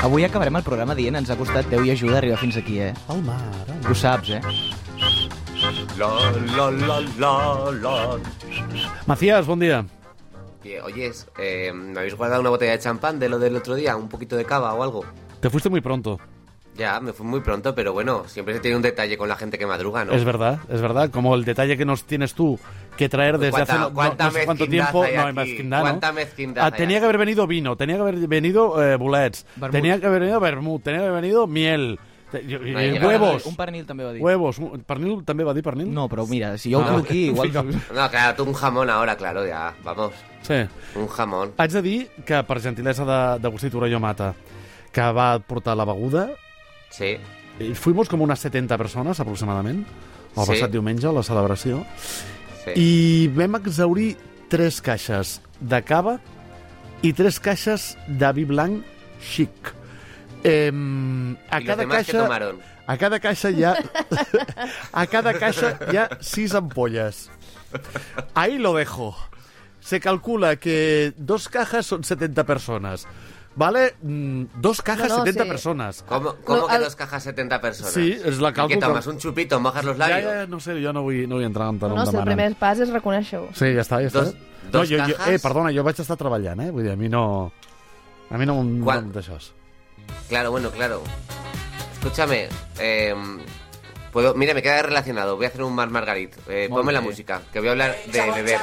Avui acabarem el programa dient ens ha costat Déu i ajuda arribar fins aquí, eh? El mar, el Ho saps, eh? La, la, la, la, la. Macías, buen día. Oye, oyes, eh, ¿me habéis guardado una botella de champán de lo del otro día? ¿Un poquito de cava o algo? Te fuiste muy pronto. Ya, me fui muy pronto, pero bueno, siempre se tiene un detalle con la gente que madruga, ¿no? Es verdad, es verdad. Como el detalle que nos tienes tú que traer desde ¿Cuánta- hace no- no, cuánta no sé cuánto mezquindad tiempo. hay No, aquí? mezquindad, ¿no? ¿Cuánta mezquindad Ah, hay tenía aquí? que haber venido vino, tenía que haber venido eh, bulets, Vermut. tenía que haber venido vermut, tenía que haver venido miel, te- i- i- ha llegat. huevos, Un pernil també va dir. huevos. un- Pernil també va dir pernil? No, però mira, si jo ho Ah. tiro aquí, igual... Fica- No, claro, tú un jamón ahora, claro, ya, vamos. Sí. Un jamón. Haig de dir que, per gentilesa de- d'Agustí Torelló Mata, que va portar la beguda, Sí. eh, fuimos com unes 70 persones, aproximadament, el Sí. passat diumenge, a la celebració, Sí. i vam exaurir tres caixes de cava i tres caixes de vi blanc xic. Eh, a, ¿Y los cada demás que caixa, tomaron? a cada caixa hi ha... a cada caixa hi ha sis ampolles. Ahí lo dejo. Se calcula que dos cajas son 70 personas. ¿Vale? Mm, Dos cajas, No, no, 70 sí. personas. ¿Cómo, cómo No, que al- dos cajas 70 personas? Ah, Sí, es la ¿Y calco Que tomas con- un chupito, mojas los Ja, labios. ja, no sé, jo no vull, no vull entrar en tant No, no, si el primer pas és reconèixer-ho. Sí, ja està, ja està. Dos- no, dos jo, jo, eh, cajas? perdona, jo vaig estar treballant, eh? Vull dir, a mi no... A mi no, no Quan- em deixes. Claro, bueno, claro. Escúchame, em, puedo, mira, me queda relacionado. Voy a hacer un Mar Margarit. Eh, ponme la música, que voy a hablar de beber.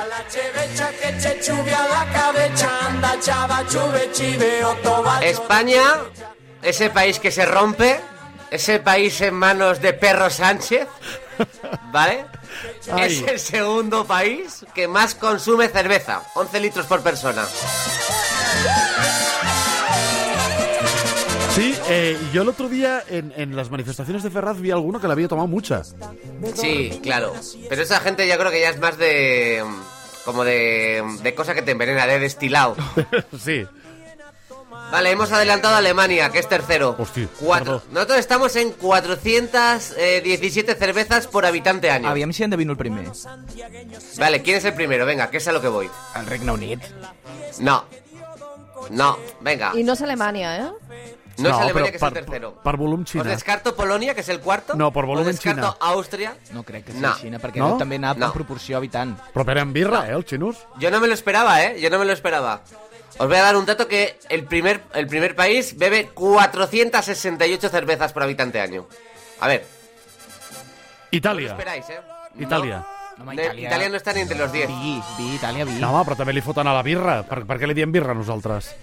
España, ese país que se rompe, ese país en manos de Perro Sánchez, ¿vale? Ay. Es el segundo país que más consume cerveza, 11 litros por persona. Sí, eh, yo el otro día en, en las manifestaciones de Ferraz vi alguno que la había tomado mucha. Sí, claro. Pero esa gente ya creo que ya es más de. como de. de cosa que te envenena, de destilado. sí. Vale, hemos adelantado a Alemania, que es tercero. Hosti, Cuatro. perdó. Nosotros estamos en 417 cervezas por habitante año. Aviam si endevino el primer. Vale, ¿quién es el primero? Venga, que es a lo que voy. El Regne Unit. No. No, venga. I no és Alemanya, eh? No, es però Alemania, que es el per- tercero. Per volum Os xina. descarto Polonia, que es el cuarto. No, por volumen Os descarto China. Austria. No crec que sigui No. Xina, perquè No? no? també anava No. per proporció habitant. Però per amb birra, eh, els xinos? Yo no me lo esperaba, ¿eh? Yo no me lo esperaba. Os voy a dar un dato que el primer, el primer país bebe 468 cervezas por habitante año. A ver, no Itàlia. esperáis, ¿eh? No. Itàlia. Home, Ne- Itàlia- Italia no está ni entre los 10. Vi, vi, Itàlia, vi. No, home, però també li foten a la birra. Per, per què li diem birra a nosaltres?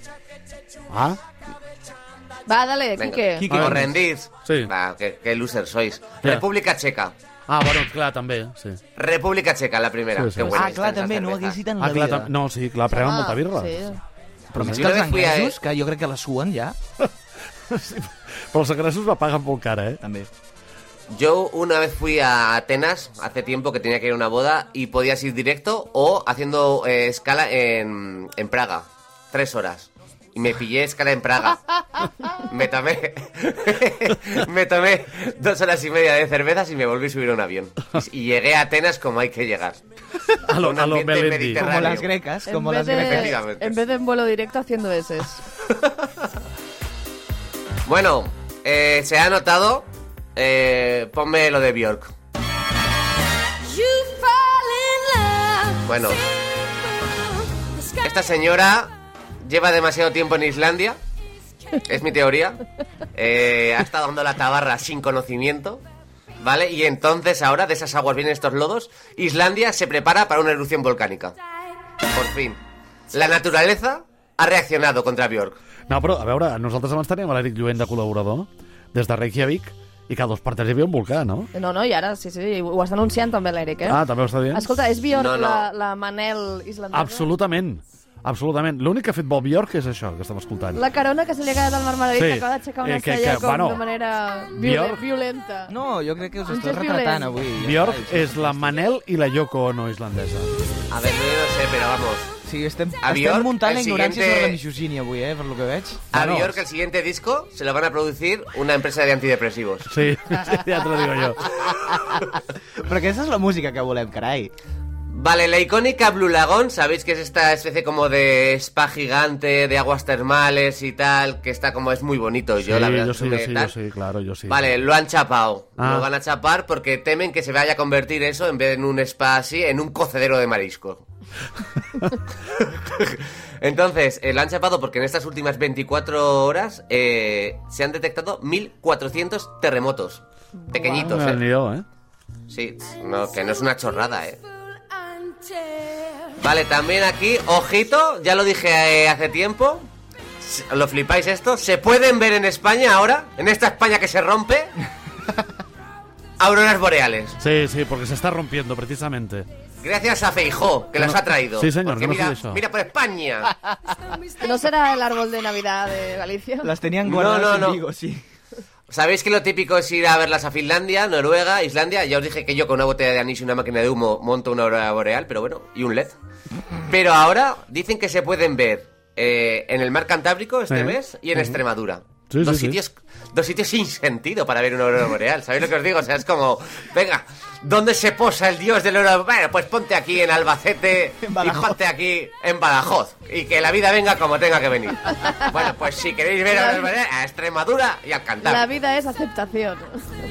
Ah? Va, dale, Venga. Quique. Qui- Os rendís. Sí. Va, qué, qué loser sois. Ya. República Checa. Ah, bueno, clar, també, sí. República Checa, la primera. Sí, sí. Qué buena Ah, clar, també, no ho hagués dit en la Ah, clar, vida. Ah, tam- no, sí, clar, prenen molta birra. Ah, Sí. Però més Jo que els només fui a- anglesos, que jo crec que la suen ja, Però els agressos la paguen molt cara, eh? també. Yo una vez fui a Atenas hace tiempo que tenía que ir a una boda y podías ir directo o haciendo eh, escala en, en Praga. Tres horas. Y me pillé escala en Praga. Me tomé, me tomé dos horas y media de cervezas y me volví a subir a un avión. Y llegué a Atenas como hay que llegar. A lo, Un a lo ambiente Melendi. mediterráneo. Com Ràdio. les greques, En com vez, les de, greques. Efectivamente. en vez de en vuelo directo haciendo S. Bueno, eh, se ha notado. Eh, ponme lo de Bjork. Bueno, esta señora lleva demasiado tiempo en Islandia. Es mi teoría. Eh, ha estado dando la tabarra sin conocimiento. ¿Vale? Y entonces ahora de esas aguas vienen estos lodos. Islandia se prepara para una erupción volcánica. Por fin. La naturaleza ha reaccionado contra Bjork. No, però, a veure, nosaltres abans teníem l'Eric Lluent de col·laborador, des de Reykjavik, i cada dos per tres hi havia un volcà, no? No, no, i ara, sí, sí, ho està anunciant també l'Eric, eh? Ah, també ho està dient? Escolta, eh? és Bjork No, no. La, la Manel islandesa? Absolutament. Absolutament. L'únic que ha fet Bob York és això que estem escoltant. La carona que se li ha quedat al Marmarit Sí. sí. acaba d'aixecar Eh, una que- que, cella que, com bueno, de manera Bjork- violent, violenta. No, jo crec que us Un esteu gest retratant violent. avui. ja Bjork està, és la Manel i la Yoko Ono islandesa. A ver, yo no sé, pero vamos. Sí, estem, A Bjork, estem muntant el la ignorància siguiente- sobre la misogínia avui, eh, per lo que veig. A Bueno. Bjork el siguiente disco se lo van a producir una empresa de antidepresivos. Sí, sí, ja te lo digo jo. Però aquesta és la música que volem, carai. Vale, la icónica Blue Lagoon, sabéis que es esta especie como de spa gigante, de aguas termales y tal, que está como es muy bonito. yo Sí, la verdad yo es sí, que yo sí, tal. yo sí, claro, yo sí. Vale, lo han chapado. Ah. Lo van a chapar porque temen que se vaya a convertir eso, en vez de en un spa así, en un cocedero de marisco. Entonces, eh, lo han chapado porque en estas últimas 24 horas eh, se han detectado 1.400 terremotos. Pequeñitos, Me eh. lío, ¿eh? Sí, no, que no es una chorrada, eh. Vale, también aquí, ojito, ya lo dije eh, hace tiempo. s- ¿Lo flipáis esto? ¿Se pueden ver en España ahora? ¿En esta España que se rompe? Auroras boreales. Sí, sí, porque se está rompiendo precisamente. Gracias a Feijó, que No, las ha traído. sí, señor, Porque que no mira, fui yo. mira por España. ¿No será el árbol de Navidad de Galicia? Les tenien No, guardades no, en no. Vigo, sí. ¿Sabéis que lo típico es ir a verlas a Finlandia, Noruega, Islandia? Ya os dije que yo con una botella de anís y una máquina de humo monto una aurora boreal, pero bueno, y un LED. Pero ahora dicen que se pueden ver eh, en el mar Cantábrico este Eh, mes y en Extremadura. Sí, dos, sí, sí. sitios, dos sitios sin sentido para ver una aurora boreal, ¿sabéis lo que os digo? O sea, es como, venga, ¿dónde se posa el dios del aurora Bueno, pues ponte aquí en Albacete En y Badajoz. ponte aquí en Badajoz. Y que la vida venga como tenga que venir. Bueno, pues si queréis ver auroras boreales, a Extremadura y al Cantábrico. La vida es aceptación.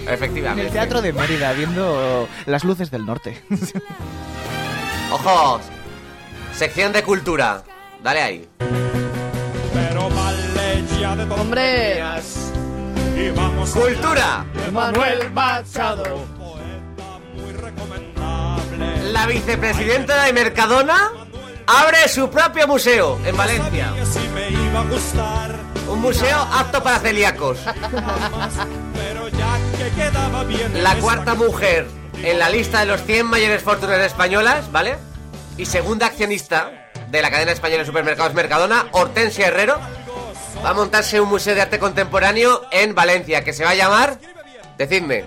En Efectivamente. el Teatro de Mérida, viendo las luces del norte. ¡Ojos! Sección de cultura. Dale ahí. Pero vale ya de Hombre. tonterías. Y vamos a ¡Cultura! Manuel Machado. Poeta muy recomendable. La vicepresidenta de Mercadona abre su propio museo en Valencia. Sabía si me iba a gustar, Un museo apto para celíacos. pero ya que quedaba bien. La esta cuarta mujer en la lista de los 100 mayores fortunas españolas, ¿vale? Y segunda accionista de la cadena española de supermercados Mercadona, Hortensia Herrero, va a montarse un museo de arte contemporáneo en Valencia que se va a llamar... Decidme.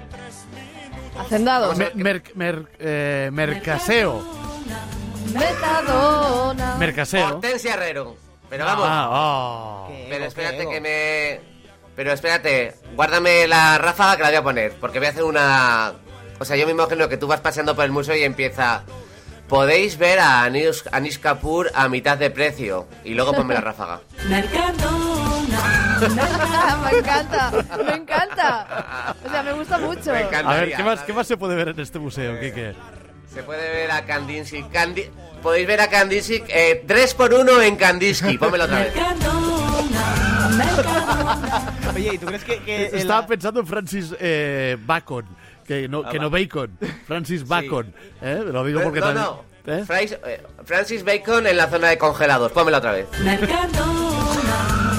Hacendado. Me- mer- mer- eh, mercaseo. Metadona. Mercaseo. Hortensia Herrero. Pero vamos. Ah, oh. Pero espérate que me. Pero espérate, guárdame la ráfaga que la voy a poner, porque voy a hacer una. O sea, yo me imagino que tú vas paseando por el museo y empieza. Podéis ver a Anis, Anis Kapoor a mitad de precio. Y luego ponme la ráfaga. me encanta, me encanta. O sea, me gusta mucho. Me encanta. A ver, ¿qué más, ¿qué más se puede ver en este Eh, museo, Quique? Se puede ver a Kandinsky. Kandi- Podéis ver a Kandinsky eh, 3x1 en Kandinsky. Pónmelo otra vez. Oye, ¿y tú crees que, eh, que el- Estaba pensando en Francis eh, Bacon. Que no, Ah, que no Bacon. Francis Bacon. ¿eh? Lo digo porque no, también- no. ¿eh? Frais- eh, Francis Bacon en la zona de congelados. Pónmelo otra vez.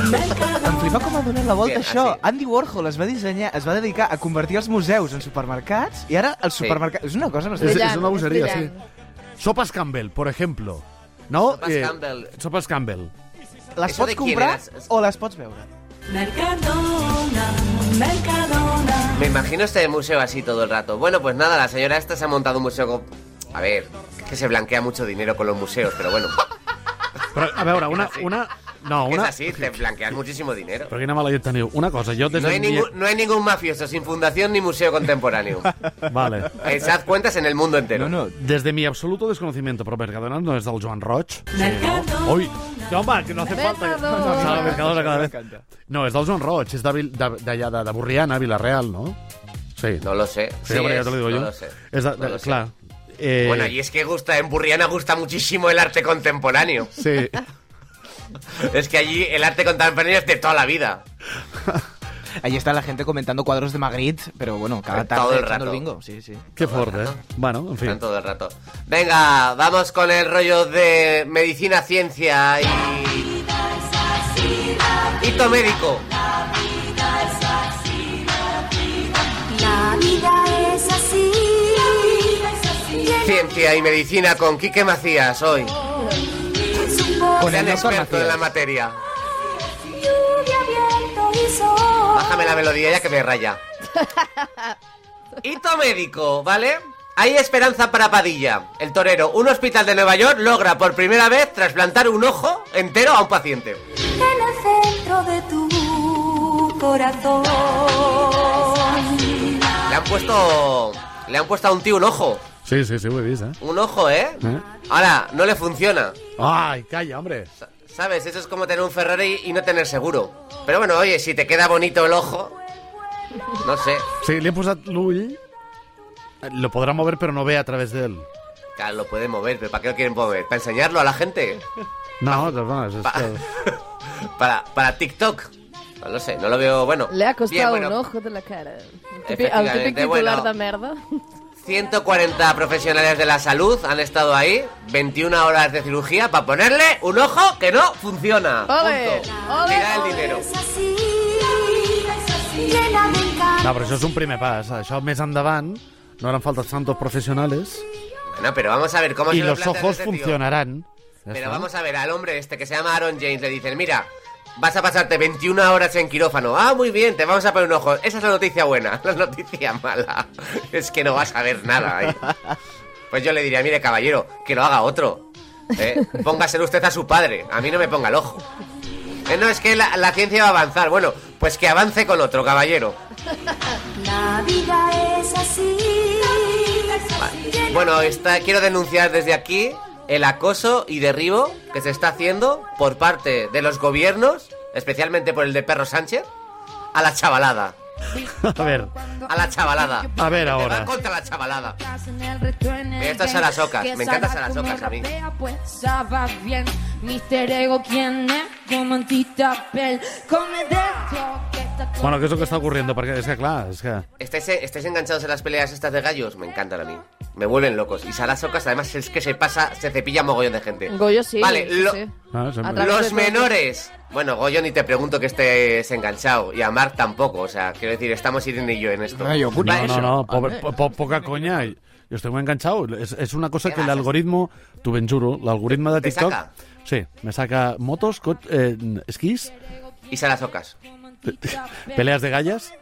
Em flipa com ha donat la volta Sí, això. ah, sí. Andy Warhol es va dissenyar, es va dedicar a convertir els museus en supermercats i ara els Sí. supermercats... És una cosa... No sé, És- Brillant, és una bogeria, sí. brillant. Sopas Campbell, por ejemplo. ¿No? Eh, Sopas Campbell. Sopas Campbell. les Això de pots qui comprar eres? o les pots veure. Me imagino este museo así todo el rato. Bueno, pues nada, la señora esta se ha montado un museo con... A ver, es que se blanquea mucho dinero con los museos, pero bueno. Però, a veure, una... una no, Es una... así, te blanqueas muchísimo dinero. Però quina mala llet teniu. Una cosa, jo... Des No hay, del ningún, no hay ningún mafioso sin fundación ni museo contemporáneo. dia... Vale. Echad cuentas en el mundo entero. No, no, Des de mi absoluto desconocimiento, però Mercadona no és del Joan Roig. Ui, no, home, que no hace falta... que- Mercadona. No, no, Mercadona cada M'encanta. vez... No, és del Joan Roig, és de Vil- de- d'allà, de, de, Borriana, Vilareal, no? Sí. No lo sé. Sí, Sí hombre, es, ya te lo digo no yo. lo sé, Es da- no lo sé. claro. Eh, Bueno, y es que gusta, en Burriana gusta muchísimo el arte contemporáneo. Sí. Es que allí el arte contemporáneo es de toda la vida. Ahí está la gente comentando cuadros de Magritte, pero bueno, cada Todo tarde el echando rato. bingo. Sí, sí. Qué fuerte, eh? Bueno, en fin. Están todo el rato. Venga, vamos con el rollo de medicina, ciencia y. Hito médico. La vida es así. Ciencia y medicina con Quique Macías hoy. Con Gran el doctor experto en la Macías. materia. Lluvia, viento y sol. Bájame la melodía ya que me raya. Hito médico, ¿vale? Hay esperanza para Padilla, el torero. Un hospital de Nueva York logra por primera vez trasplantar un ojo entero a un paciente. En el centro de tu corazón. Le han puesto. Le han puesto a un tío un ojo. Sí, sí, sí, ho he vist, eh? Un ojo, ¿eh? ¿Eh? Ahora, no le funciona. Ai, calla, hombre. Sa- ¿Sabes? Eso es como tener un Ferrari y no tener seguro. Pero bueno, oye, si te queda bonito el ojo. No sé. Sí, li he posat l'ull. Lo podrà mover, però no ve a través d'ell. Claro, lo puede mover, pero ¿para qué lo quieren mover? ¿Para enseñarlo a la gente? Ah. No, doncs, és que... ¿Para, para TikTok? No lo sé, no lo veo bueno. Le ha Bien, costado bueno, un ojo de la cara. El típic- El Efectivamente, típic titular bueno. de merda. 140 profesionales de la salud han estado ahí, 21 horas de cirugía para ponerle un ojo que no funciona. Ole, Punto. ole, Tira el ole. dinero. Es así, es así, llena de encanto. No, però això és un primer pas. Això més endavant no haran falta tantos profesionales Bueno, pero vamos a ver cómo y se lo los plantean ojos este tío. funcionarán. Ja Pero està. vamos a ver, al hombre este que se llama Aaron James le dicen, mira, vas a pasarte 21 horas en quirófano. Ah, muy bien, te vamos a poner un ojo. Esa es la noticia buena, la noticia mala. Es que no vas a ver nada. ahí. Pues yo le diría, mire caballero, que lo haga otro. ¿eh? Póngaselo usted a su padre, a mí no me ponga el ojo. Eh, no, es que la, la ciencia va a avanzar. Bueno, pues que avance con otro, caballero. La vida es así. llena Bueno, está, quiero denunciar desde aquí el acoso y derribo que se está haciendo por parte de los gobiernos, especialmente por el de Perro Sánchez, a la chavalada. ¿eh? A ver, A la chavalada. a ver Te ahora. van contra la chavalada. Esto Estas salasocas, me encantan salasocas a mí. Pues sabe bien, Mister Ego, ¿quién es? Como en Titapel, come de esto que está todo Bueno, què és el que està ocurriendo? Perquè és que, clar, és que... ¿Estáis, estáis enganchados en las peleas estas de gallos? Me encantan a mí. Me vuelven locos. Y Salasocas, además, es que se pasa, se cepilla mogollón de gente. Goyo sí. Vale, sí, lo- sí. Ah, sempre. A través de Los todo. menores. Bueno, Goyo, ni te pregunto que estés enganchado. Y a Mark tampoco. O sea, quiero decir, estamos Irene y yo en esto. Ay, ocurre. Vale, No, no, no, pobre, po- po- poca coña. Yo estoy muy enganchado. Es, es una cosa que el algoritmo, tú ben juro, el algoritmo de ¿Te TikTok... saca? Sí, me saca motos, co- eh, esquís, Y Salasocas. peleas de gallas.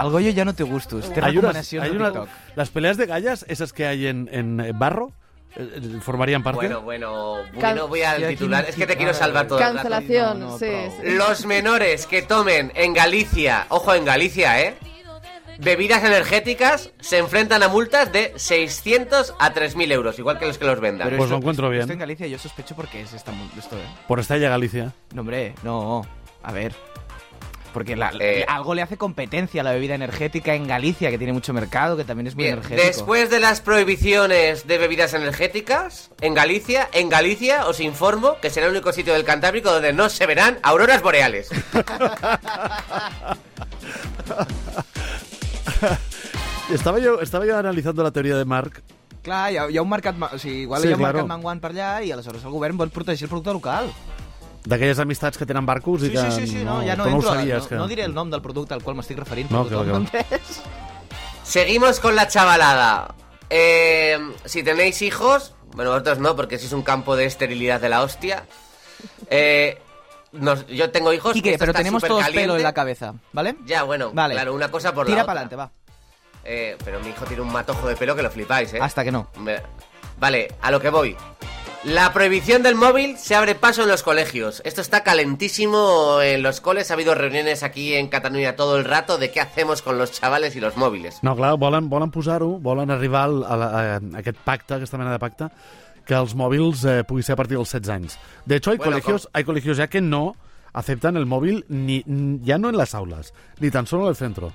El Goyo ja no té gustos, té Hay unas- recomanacions hay de unas- TikTok. las peleas de gallas, esas que hay en, en barro, eh, eh, formarían parte. Bueno, bueno, Can- no voy al Ya titular. tiene- Es que te quiero salvar todo el rato. Cancelación, No, no, sí, bravo. sí. Los menores que tomen en Galicia, ojo en Galicia, ¿eh? Bebidas energéticas se enfrentan a multas de 600 a 3.000 euros, igual que los que los vendan. Pues lo encuentro bien. Esto en Galicia yo sospecho porque es esta, mu- esto, ¿eh? Por esta ya Galicia. No, hombre, no. A ver. Porque la- Eh. algo le hace competencia a la bebida energética en Galicia, que tiene mucho mercado, que también es muy Bien, energético. después de las prohibiciones de bebidas energéticas en Galicia, en Galicia os informo que será el único sitio del Cantábrico donde no se verán auroras boreales. Estaba yo, estaba yo analizando la teoría de Mark. Clar, hi ha, hi ha un mercat... ma- O sigui, igual Sí, sí, hi ha un claro. mercat manguant per allà i aleshores el govern vol protegir el producte local. D'aquelles amistats que tenen barcos i Sí, que... sí, sí, sí no, ja no tu no ho entro. a- sabies. no, que... no diré el nom del producte al qual m'estic referint, No, però clar, tothom clar. m'entès. Seguimos con la chavalada. Eh, si tenéis hijos, bueno, vosotros no, porque si es un campo de esterilidad de la hostia. Eh, nos- yo tengo hijos. Quique, esto pero está tenemos todos supercaliente. pelo en la cabeza, ¿vale? Ya, bueno, Vale. claro, una cosa por la Tira otra. para adelante, va. Eh, pero mi hijo tiene un matojo de pelo que lo flipáis, ¿eh? Hasta que no. Me- Vale, a lo que voy. La prohibición del móvil se abre paso en los colegios. Esto está calentísimo en los coles. Ha habido reuniones aquí en Cataluña todo el rato de qué hacemos con los chavales y los móviles. No, clar, volen, volen posar-ho, volen arribar al- a, la, a aquest pacte, aquesta mena de pacte, que els mòbils eh, pugui ser a partir dels 16 anys. De hecho, hay, Bueno, bueno, colegios, hay colegios ya que no aceptan el móvil ni n- ya no en las aulas, ni tan solo en el centro.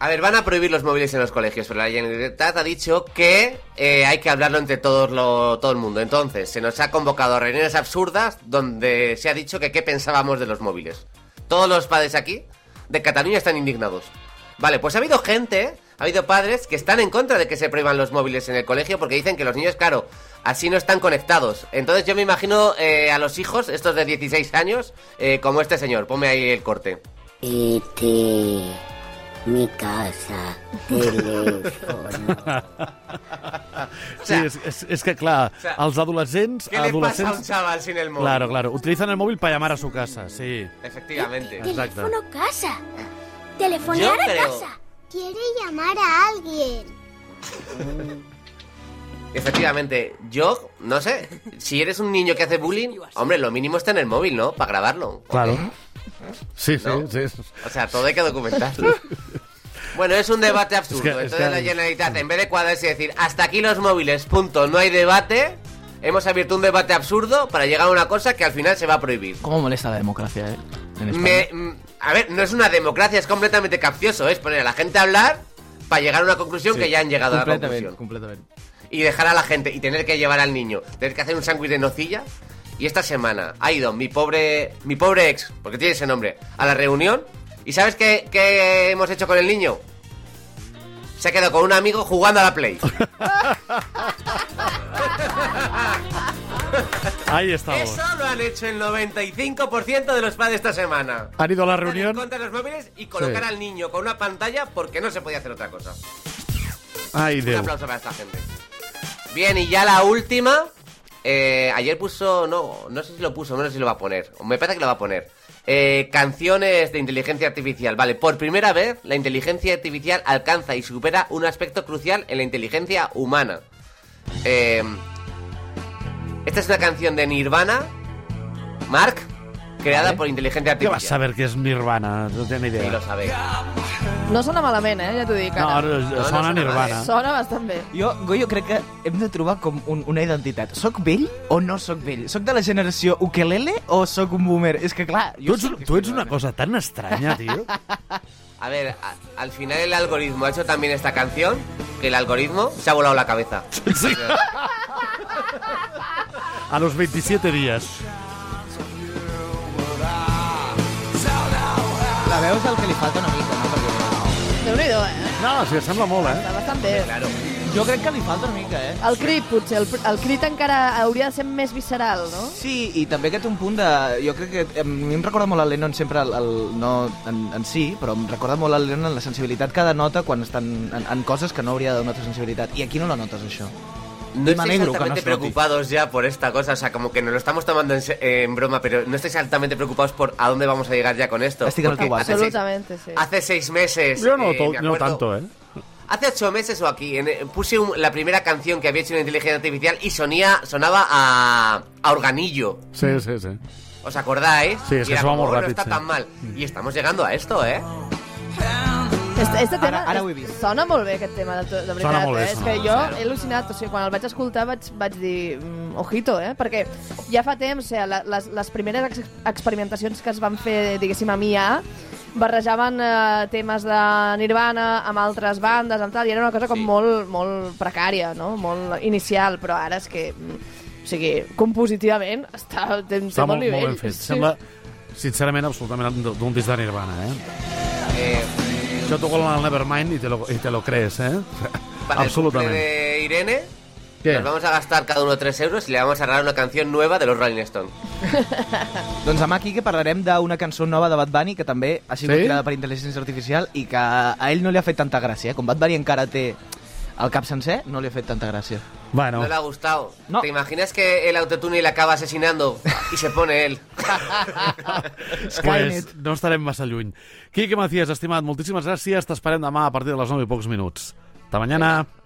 A ver, van a prohibir los móviles en los colegios, pero la Generalitat ha dicho que eh, hay que hablarlo entre todos lo- todo el mundo. Entonces, se nos ha convocado a reuniones absurdas donde se ha dicho que qué pensábamos de los móviles. Todos los padres aquí de Cataluña están indignados. Vale, pues ha habido gente, ha habido padres que están en contra de que se prohíban los móviles en el colegio porque dicen que los niños, claro, así no están conectados. Entonces yo me imagino eh, a los hijos, estos de 16 años, eh, como este señor. Ponme ahí el corte. Este, mi casa, teléfono. Sí, és, és, és que, clar, sea, els adolescents... ¿Qué le pasa a un adolescents chaval sin el móvil? Claro, claro. Utilizan el móvil para llamar a su casa, sí. Efectivamente. Exacto. Teléfono casa. Telefonear Yo a creo. casa. Quiere llamar a alguien. Efectivamente. Yo, no sé, si eres un niño que hace bullying, hombre, lo mínimo está en el móvil, ¿no? Para grabarlo. Claro. Sí, sí, No? sí. O sea, todo hay que documentarlo. Bueno, es un debate Es absurdo. que- es Entonces que- la Generalitat, en vez de cuadrarse y decir hasta aquí los móviles, punto, no hay debate, hemos abierto un debate absurdo para llegar a una cosa que al final se va a prohibir. ¿Cómo molesta la democracia, eh? En España. Me- mm, a ver, no es una democracia, es completamente capcioso. Es poner a la gente a hablar para llegar a una conclusión que ya han llegado a la completamente, conclusión. completamente. Y dejar a la gente y tener que llevar al niño, tener que hacer un sándwich de nocilla. Y esta semana ha ido mi pobre, mi pobre ex, porque tiene ese nombre, a la reunión. ¿Y sabes qué, qué hemos hecho con el niño? Se ha quedado con un amigo jugando a la Play. Ahí estamos. Eso lo han hecho el 95% de los padres esta semana. Han ido a la Estar en reunión. contra de los móviles y colocar Sí. al niño con una pantalla porque no se podía hacer otra cosa. Ay, Un Déu. aplauso para esta gente. Bien, y ya la última. Eh, ayer puso, no, no sé si lo puso, no sé si lo va a poner. Me parece que lo va a poner. Eh, canciones de inteligencia artificial. Vale, por primera vez la inteligencia artificial alcanza y supera un aspecto crucial en la inteligencia humana. Eh, esta es una canción de Nirvana, Mark, creada por inteligencia Què vas artificial. saber que és Nirvana? No té ni Sí, lo idea. sabéis. No sona malament, eh? Ja t'ho dic, No, ara. no, no sona sona Nirvana. Sona bastant bé. Jo, Goyo, crec que hem de trobar com un, una identitat. Soc vell o no soc vell? Soc de la generació ukelele o soc un boomer? És que, clar... Tu Jo ets, soc tu ets una cosa tan estranya, tio. A ver, a- al final el algoritmo ha hecho también esta canción, que el algoritmo se ha volado la cabeza. Sí. A los 27 días. La veus del que li falta una mica, no? Perquè... Déu-n'hi-do, eh? No, sí, sembla molt, eh? Està bastant bé. Claro. Jo crec que li falta una mica, eh? El crit, potser. El, el crit encara hauria de ser més visceral, no? Sí, i també que té un punt de... Jo crec que a mi em recorda molt a Lennon sempre, el, el, no en, en si, però em recorda molt a Lennon en la sensibilitat que denota quan estan en, en coses que no hauria de notar sensibilitat. I aquí no la notes, això. No Y me estáis alegro que no altamente se note. preocupados ya por esta cosa, o sea, como que nos lo estamos tomando en, se- en broma, pero no estáis altamente preocupados por a dónde vamos a llegar ya con esto. Estoy con el Porque que hace seis, Absolutamente, sí. hace seis meses. Yo no, eh, to- me no acuerdo, tanto, ¿eh? Hace ocho meses o aquí en- eh, puse un- la primera canción que había hecho una inteligencia artificial y sonía, sonaba a, a organillo. Sí, sí, sí. ¿Os acordáis? Sí, es Y que era eso va como, muy "Bueno, rápido, está sí". tan mal. Y estamos llegando a esto, ¿eh? Este, este tema Ara- ara es- ho he vist. sona molt bé, aquest tema, de, to- de veritat. molt bé, eh? És sona que molt jo bé. he al·lucinat. O sigui, quan el vaig escoltar vaig, vaig dir, mm, ojito, eh? Perquè ja fa temps, o sigui, la- les, les primeres ex experimentacions que es van fer, diguéssim, amb IA, barrejaven eh, temes de Nirvana amb altres bandes, amb tal, i era una cosa com Sí. molt, molt precària, no? molt inicial, però ara és que... mm, O sigui, compositivament està, té, té Està molt, molt, eh, nivell. molt ben fet. Sí. Sembla, sincerament, absolutament d- d'un disc de Nirvana, eh? Eh, Yo toco la Nevermind y te lo, y te lo crees, eh? para el cumple absolutamente. de Irene, ¿Qué? nos vamos a gastar cada uno 3 euros y le vamos a regalar una canción nueva de los Rolling Stones. Doncs amb aquí que parlarem d'una cançó nova de Bad Bunny que també ha sigut Sí? creada per intel·ligència artificial i que a ell no li ha fet tanta gràcia. eh? Com Bad Bunny encara té el cap sencer, no li ha fet tanta gràcia. Bueno, No le ha gustado. No. ¿Te imaginas que el autotune le acaba asesinando y se pone él? pues no estarem massa lluny. Quique Macías, estimat, moltíssimes gràcies. T'esperem demà a partir de les 9 i pocs minuts. Hasta mañana.